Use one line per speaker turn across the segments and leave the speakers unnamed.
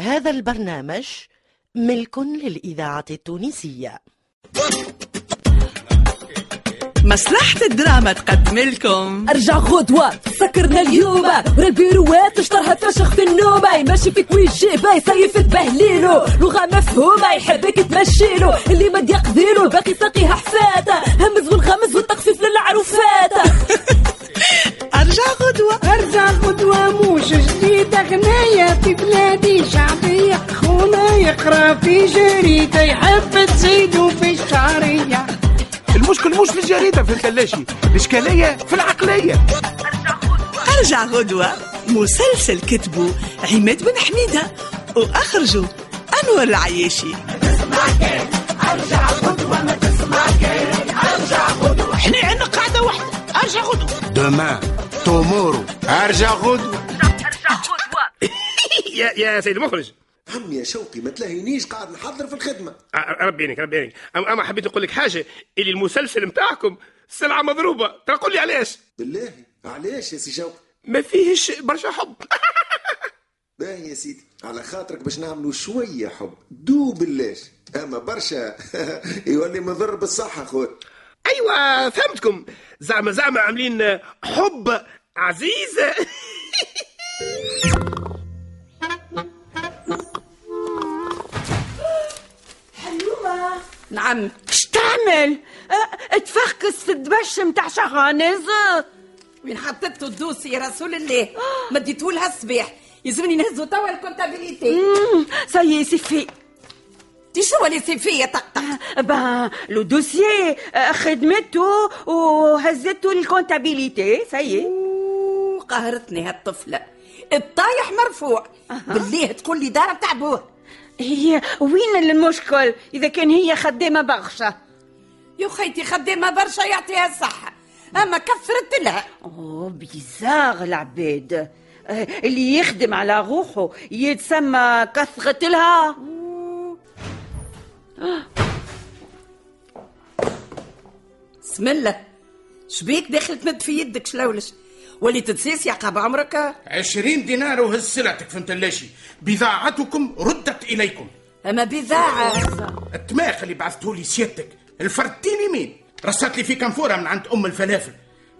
هذا البرنامج ملك للإذاعة التونسية
مصلحة الدراما تقدم لكم
ارجع خطوة سكرنا اليوم ورا البيروات اشترها ترشخ في النوم يمشي فيك ويجيب يصيف تبهليلو لغة مفهومة يحبك تمشيلو اللي ما يقديلو الباقي ساقيها حفاتة همز والغمز والتخفيف للعروفات
أرجع غدوة
ارجع غدوة موش جديدة غناية في بلادي شعبية خونا يقرا في جريدة يحب تزيدو في الشعرية
المشكل مش في الجريده في الكلاشي الاشكاليه في العقليه
أرجع غدوة مسلسل كتبه عماد بن حميدة وأخرجه أنور العياشي
احنا عندنا قاعده واحده ارجع غدوه
دومان تومورو ارجع غدوه
يا يا سيد المخرج
عمي يا شوقي ما تلاهينيش قاعد نحضر في الخدمه
ع- ربي يعينك ربي يعينك أما, اما حبيت نقول لك حاجه اللي المسلسل نتاعكم سلعه مضروبه ترى قول لي علاش
بالله علاش يا سي شوقي
ما فيهش برشا حب
باهي يا سيدي على خاطرك باش نعملوا شويه حب دوب بلاش اما برشا يولي مضر بالصحه خويا
ايوه فهمتكم زعما زعما عاملين حب عزيز
نعم اش تعمل؟ أه، تفخكس في الدبش متاع شغانز
وين حطيتو الدوسي يا رسول الله مديتولها الصباح يلزمني نهزو توا الكونتابيليتي
سي سي في
تي شو اللي سي فيا طيب. طقطق
أه، با لو دوسيي أه، خدمته وهزته للكونتابيليتي سي
وقهرتني هالطفلة الطايح مرفوع بالله تقول لي دار بتاع بوه
هي وين المشكل اذا كان هي خدامه بغشه
يا خيتي خدامة برشا يعطيها الصحة أما كثرت لها
اوه بيزاغ العباد أه، اللي يخدم على روحه يتسمى كثرة لها
بسم الله شبيك داخل تمد في يدك شلولش واللي تتسيس يعقب عمرك
عشرين دينار وهز سلعتك في الكلاشي بضاعتكم ردت اليكم
أما بذاعة
التماخ اللي بعثته لي سيادتك الفردتين يمين رصت لي في كنفوره من عند ام الفلافل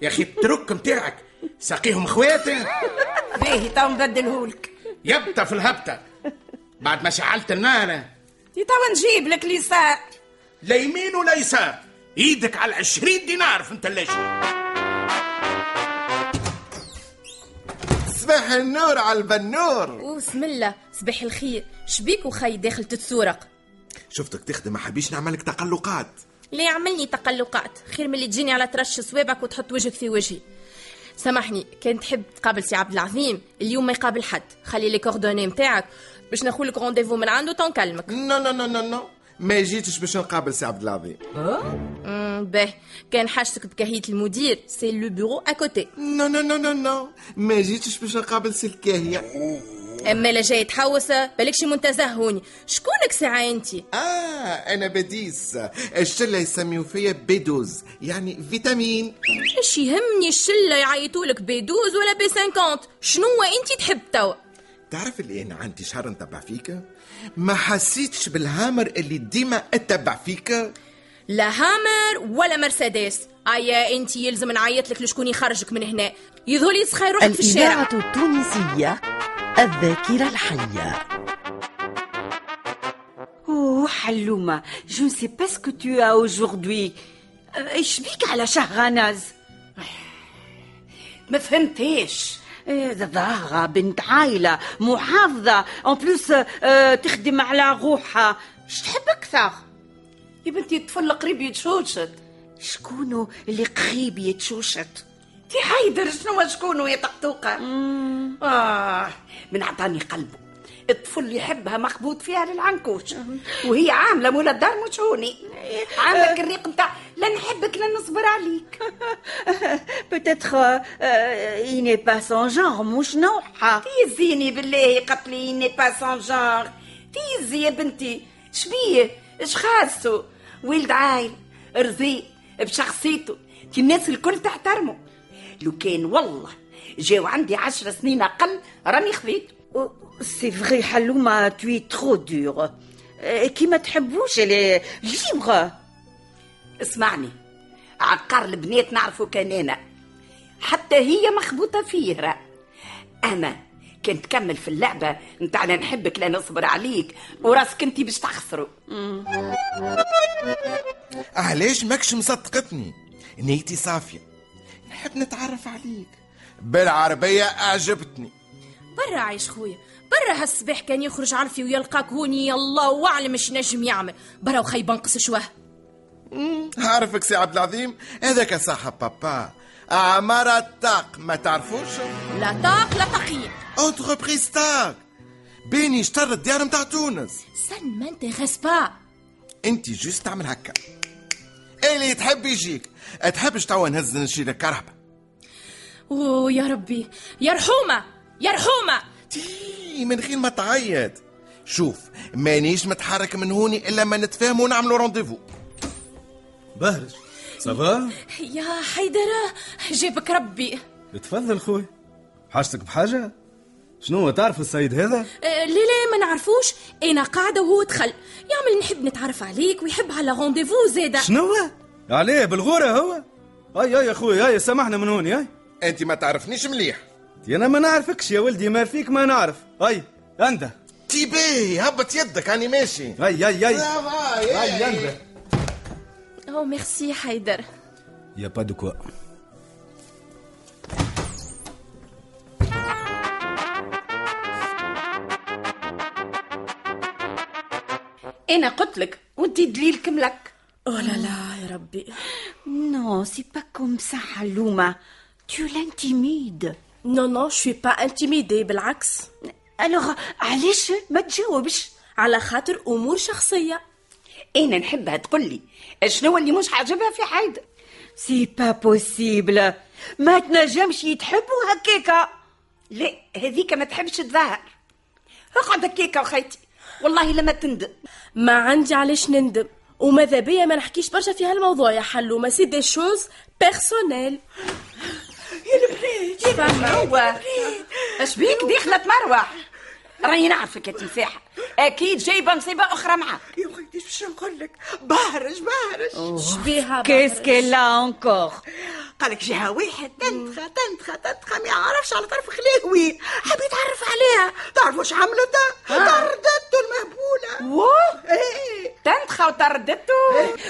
يا اخي الترك نتاعك ساقيهم خواتي
باهي تو نبدلهولك
يبته في الهبته بعد ما شعلت النار
تي توا نجيب لك اللي صار
لا يمين ولا يسار ايدك على عشرين دينار في الكلاشي
صباح النور على البنور
وبسم الله صباح الخير شبيك وخي داخل تتسورق
شفتك تخدم ما حبيش نعملك تقلقات
ليه عملني تقلقات خير من اللي تجيني على ترش صوابك وتحط وجهك في وجهي سامحني كان تحب تقابل سي عبد العظيم اليوم ما يقابل حد خلي لي كوردوني نتاعك باش ناخذ لك رونديفو من عنده تنكلمك
نو نو نو نو نو ما جيتش باش نقابل سي عبد العظيم
امم باه كان حاجتك بكهيه المدير سي لو بيرو اكوتي
نو نو نو نو نو ما جيتش باش نقابل سي الكاهيه
اما لا جاي تحوس بالك شي منتزه هوني شكونك ساعه انت
اه
Ah,
انا بديس
E
الشله يسميو فيا بيدوز يعني فيتامين
ايش يهمني الشله يعيطولك بيدوز ولا بي 50 شنو انت تحب توا
تعرف اللي انا عندي شهر نتبع فيك ما حسيتش بالهامر
e
اللي ديما اتبع فيك
لا هامر ولا مرسيدس ايا انت يلزم نعيط لك لشكون يخرجك من هنا يظهر لي سخي روحك في الشارع
الإذاعة التونسية الذاكرة الحية
Oh,
أوه حلومة جو نسي با سكو تو أ أوجوردوي
Euh,
إيش بيك على شهغاناز
ما فهمتيش
ظاهرة بنت عائلة محافظة أون بلوس
euh,
تخدم على روحها إيش تحب أكثر
يا بنتي الطفل قريب يتشوشت
شكونو اللي قريب يتشوشت
تي حيدر شنو شكون ويا طقطوقة آه من عطاني قلبه الطفل يحبها مخبوط فيها للعنكوش وهي عاملة مولا الدار مشهوني
إيه. آه.
عاملة الريق متاع لا نحبك لا نصبر عليك
بتتخ
euh,
إيني با سون جونغ مش
Ah.
نوعها
تيزيني بالله قتليني با سون جونغ تيزي يا بنتي شبيه اش خاصو ولد عايل رزي بشخصيته تي الناس الكل تحترمه لو كان والله جاو عندي عشر سنين اقل راني خذيته Oh, C'est vrai حلومة tu es trop dur. Euh, كي ما تحبوش اللي libre.
اسمعني عقار البنات نعرفه كان انا حتى هي مخبوطه فيه اما كان تكمل في اللعبه نتاع لا نحبك لا نصبر عليك وراسك انت باش تخسره
علاش ماكش مصدقتني نيتي صافية نحب نتعرف عليك بالعربية أعجبتني
برا عايش خويا برا هالصباح كان يخرج عرفي ويلقاك هوني الله أعلم اش نجم يعمل برا وخيب نقص شوه
مم، عارفك سي عبد العظيم هذاك صاحب بابا عمارة طاق ما تعرفوش
لا طاق لا تقييم
انتربريز طاق بيني اشترى الديار متاع تونس
سن ما انت با
انت جوست تعمل هكا اللي تحب يجيك تحبش توا نهز نشيل الكرهبة
اوه يا ربي يا رحومة يا رحومة
إيه، من غير ما تعيط شوف مانيش متحرك من هوني الا ما نتفاهم ونعملوا رونديفو
بهرج سافا
يا حيدرة جابك ربي
تفضل خويا حاجتك بحاجه شنو تعرف السيد هذا
آه، لا لا ما نعرفوش انا قاعده وهو دخل يعمل نحب نتعرف عليك ويحب على رونديفو زاده
شنو عليه بالغوره هو اي اي يا خويا اي سامحنا من هوني اي
انت ما تعرفنيش مليح
انا ما نعرفكش يا ولدي ما فيك ما نعرف اي انت
تيبي هبط يدك هاني ماشي
اي اي اي
برافو،
اي,
أي، أي.
انت
او ميرسي حيدر
يا با دو كوا
انا قلت لك وانت دليلك ملك
اوه لا لا Oh يا ربي
Non, c'est pas comme ça حلومة. Tu l'intimides.
Non, non, je suis pas intimidée, بالعكس.
Alors, علاش ما تجاوبش؟
على خاطر امور شخصيه
انا نحبها تقول لي شنو اللي مش عاجبها في حيدر
سي با بوسيبل ما تنجمش يتحبوا هكاكا
لا هذيك ما تحبش تظهر اقعد هكاكا وخيتي والله لما تندم
ما عندي علاش نندم وماذا بيا ما نحكيش برشا في هالموضوع يا حلو ما سي دي شوز بيرسونيل
يا مروة اش بيك داخلة تمروح راهي نعرفك يا تمساح اكيد جايبه مصيبه اخرى معك يا
ولدي باش نقول لك بهرج بهرج
شبيها
Qu'est-ce qu'elle a encore
قالك جاها واحد تنتخى تنتخى تنتخى ما يعرفش على طرف خلاوي حاب يتعرف عليها تعرف واش عملت طردته المهبوله ايه
تنتخى وطردته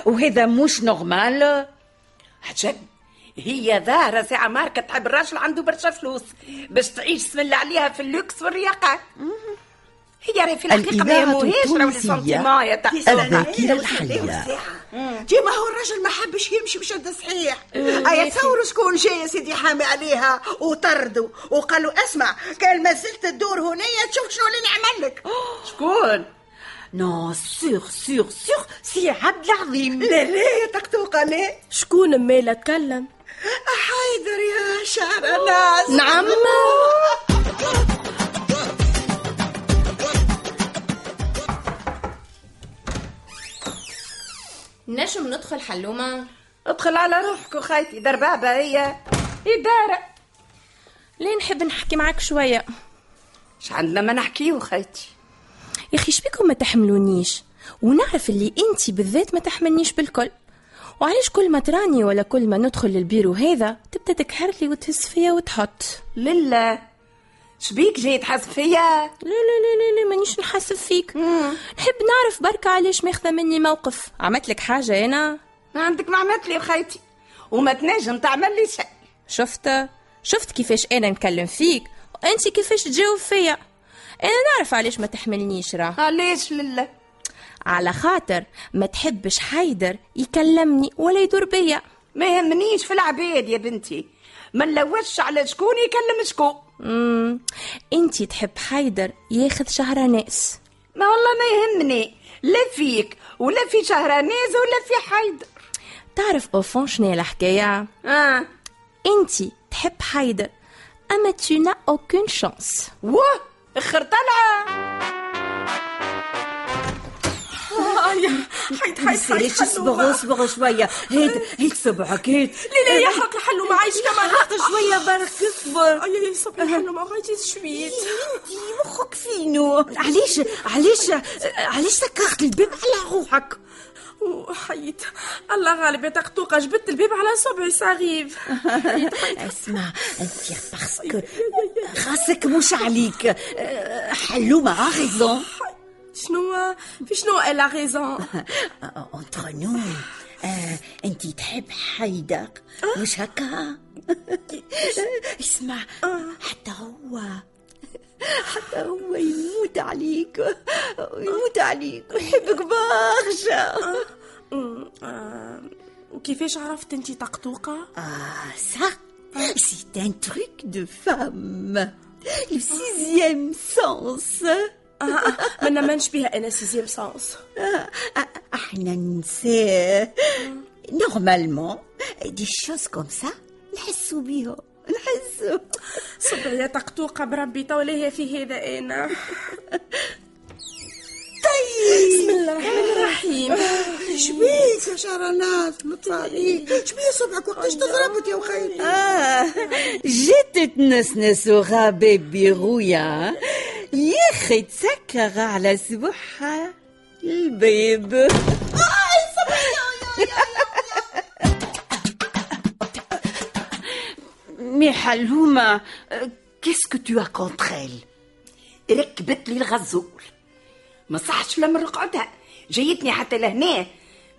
وهذا مش نورمال
عجب هي ظاهرة ساعة ماركة تحب الراجل عنده برشا فلوس باش تعيش بسم الله عليها في اللوكس والرياقة هي راهي في الحقيقة ما
الإذاعة
يهموهاش راهي
التونسية
سنتيمون يا
الذاكرة الحية
ديما هو الراجل ما حبش يمشي بشد صحيح ايا تصوروا شكون جاي يا سيدي حامي عليها وطردوا وقالوا اسمع كان ما زلت تدور هنايا تشوف شنو اللي نعمل لك
شكون نو سيغ سيغ سيغ سي عبد العظيم
لا لا يا تقطوقة لا
شكون مالا تكلم
حيدر يا شعر ناس
نعم نجم ندخل حلومة
ادخل على روحك وخايتي دربابة هي إدارة
ليه نحب نحكي معاك شوية
ش عندنا ما نحكيو خايتي
يا اخي شبيكم ما تحملونيش ونعرف اللي انت بالذات ما تحملنيش بالكل وعلاش كل ما تراني ولا كل ما ندخل للبيرو هذا تبدا تكهر لي وتهز فيا وتحط
للا شبيك جاي تحس فيا
لا لا لا لا, لا مانيش نحسب فيك نحب نعرف بركة علاش ماخذة مني موقف عملت لك حاجة أنا
ما عندك ما عملت لي خايتي وما تنجم تعمل لي شيء
شفت شفت كيفاش أنا نكلم فيك وأنت كيفاش تجاوب فيا أنا نعرف علاش ما تحملنيش راه
علاش لله
على خاطر ما تحبش حيدر يكلمني ولا يدور بيا
ما يهمنيش في العباد يا بنتي ما نلوثش على شكون يكلم شكون
مم. انتي تحب حيدر ياخذ شهر ناس
ما والله ما يهمني لا فيك ولا في شهرانيز ولا في حيدر
تعرف اوفون شنو الحكاية آه.
اه
انتي تحب حيدر اما tu n'as aucune chance
واه اخر طلعه
حيدر
حيد حيد حيد
ليش اصبر اصبر شويه هيد هيد صبعك هيد
لا لا يحرق الحلو ما عايش كمان
شويه برك اصبر
اي اي صبري الحلو ما غاديش شويه
انتي مخك فينو علاش علاش علاش سكرت الباب على روحك
وحيت الله غالب يا تقطوقه جبت الباب على صبعي صغيف
اسمع انت باسكو راسك مش عليك حلو مع ريزون
شنو في شنو الا غيزون
اونتر نو euh, انت تحب حيدق مش هكا اسمع حتى هو حتى هو يموت عليك يموت عليك ويحبك برشا
كيفاش عرفت انت تقطوقة؟
اه سا سي ان تروك دو فام لو سيزيام سونس
ما نمنش بها انا سيزيام سونس
احنا نساه نورمالمون دي شوز كوم سا نحسو بيهم نحسو
صبري يا طقطوقه بربي توليها في هذا انا
طيب
بسم الله الرحمن الرحيم
شبيك يا شهرانات مطراليك شبيه صبعك وقتاش تضربت يا وخيتي
آه جيت تنسنس وغابة بيغويا يا اخي تسكر على سبحها الباب
آه صبري يا يا يا
مي حلومة كيسكو تو كونتر ايل
ركبت لي الغزول ما صحش ولا من رقعتها جايتني حتى لهنا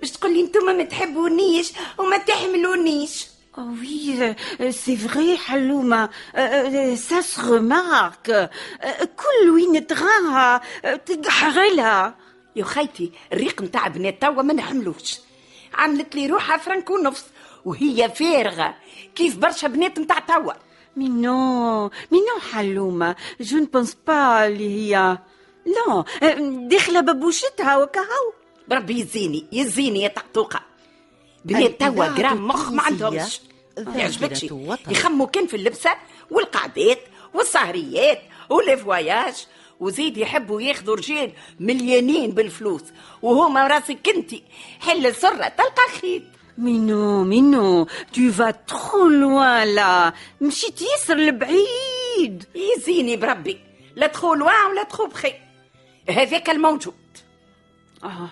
باش تقول لي انتم ما تحبونيش وما تحملونيش
Oh وي سي فري حلومة سا سو رمارك كل وين تراها تقحرلها
يا خيتي الريق نتاع بنات توا ما نحملوش عملت لي روحها فرنك ونص وهي فارغه كيف برشا بنات نتاع توا
مي نو مي نو حلومه جو ن بونس با اللي هي لا داخله ببوشتها وكهو
بربي يزيني يزيني يا طقطوقه بنات توا جرام مخ ما عندهمش ما يعجبكش يخموا كان في اللبسه والقعدات والسهريات والفواياج وزيد يحبوا ياخذوا رجال مليانين بالفلوس وهما راسك انت حل سره تلقى الخيط
مي نو مي نو تو فا ترو لوان لا مشيت ياسر لبعيد
يزيني بربي لا تخو لوان ولا تخو بخي هذاك الموجود
اه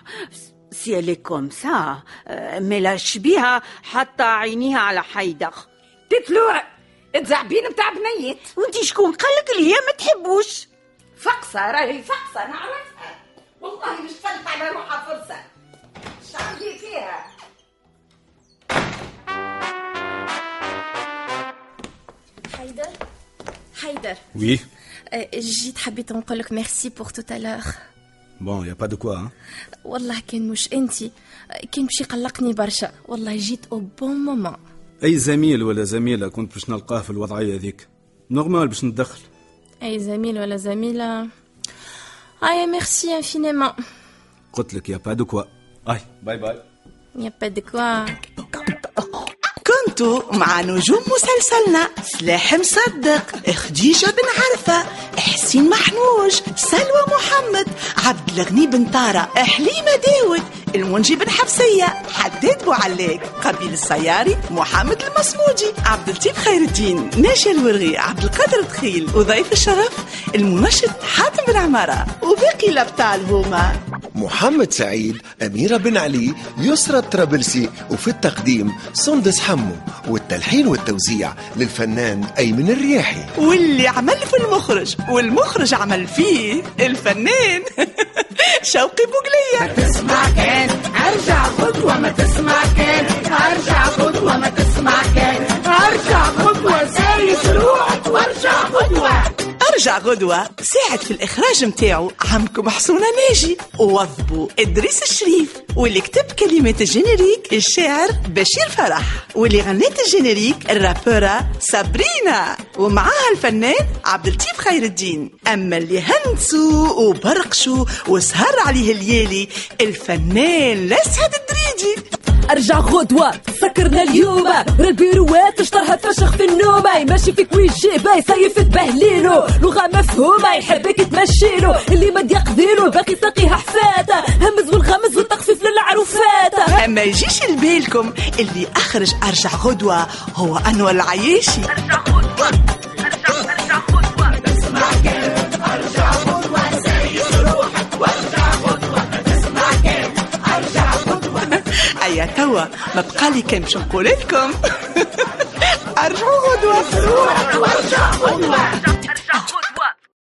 سي الي كوم سا euh, ملاش بيها حتى عينيها على حيدر
تتلوع تزعبين متاع بنيت
وانت شكون قالك اللي هي ما تحبوش
فقصة راهي فقصة نعرفها والله مش فلت على روحها فرصة شعبي فيها
حيدر حيدر
Oui.
أه، جيت حبيت نقول لك ميرسي بور توت الور
Bon, y a pas de quoi. Hein.
والله كان مش انت كان باش يقلقني برشا والله جيت او بون مومون
أي زميل ولا زميلة كنت باش نلقاه في الوضعية هذيك. نورمال باش نتدخل.
اي زميل ولا زميله اي ميرسي انفينيمون
قلت لك يا با دو كوا. أي باي باي.
يا با دو كوا
كنتوا مع نجوم مسلسلنا سلاح مصدق خديجة بن عرفة حسين محنوج سلوى محمد عبد الغني بن طارة حليمة داود المنجي بن حفصية حداد بوعلاك قبيل السياري محمد المصمودي عبد اللطيف خير الدين ناشي الورغي عبد القادر دخيل وضيف الشرف المنشط حاتم بن عمارة وباقي الأبطال هما
محمد سعيد أميرة بن علي يسرى الطرابلسي وفي التقديم سندس حمو والتلحين والتوزيع للفنان أيمن الرياحي
واللي عمل في المخرج والمخرج عمل فيه الفنان شوقي بوقلية
ما تسمع كان أرجع خطوة ما تسمع كان أرجع خطوة ما تسمع كان أرجع خطوة سايس روحك وارجع خطوة
ارجع غدوة ساعد في الاخراج متاعو عمكم حسونة ناجي ووظبوا ادريس الشريف واللي كتب كلمات الجينيريك الشاعر بشير فرح واللي غنت الجينيريك الرابورة سابرينا ومعاها الفنان عبد اللطيف خير الدين اما اللي هنسوا وبرقشوا وسهر عليه الليالي الفنان لسعد الدريدي
ارجع غدوة سكرنا اليوم البيروات اشترها تفشخ في النوم ماشي فيك ويجي باي سيف تبهليلو لغة مفهومة يحبك تمشيلو اللي ما يقديلو باقي ساقيها حفاتة همز والغمز والتخفيف للعروفات
ما يجيش لبالكم اللي اخرج ارجع غدوه هو انور العياشي
ارجع خطوة ارجع ارجع خطوة ما تسمع كلمة ارجع خطوة سايس روحك وارجع خطوة ما تسمع كلمة ارجع خطوة
ايا توا ما بقالي كان باش نقول لكم ارجعوا غدوه
روحك وارجع خطوة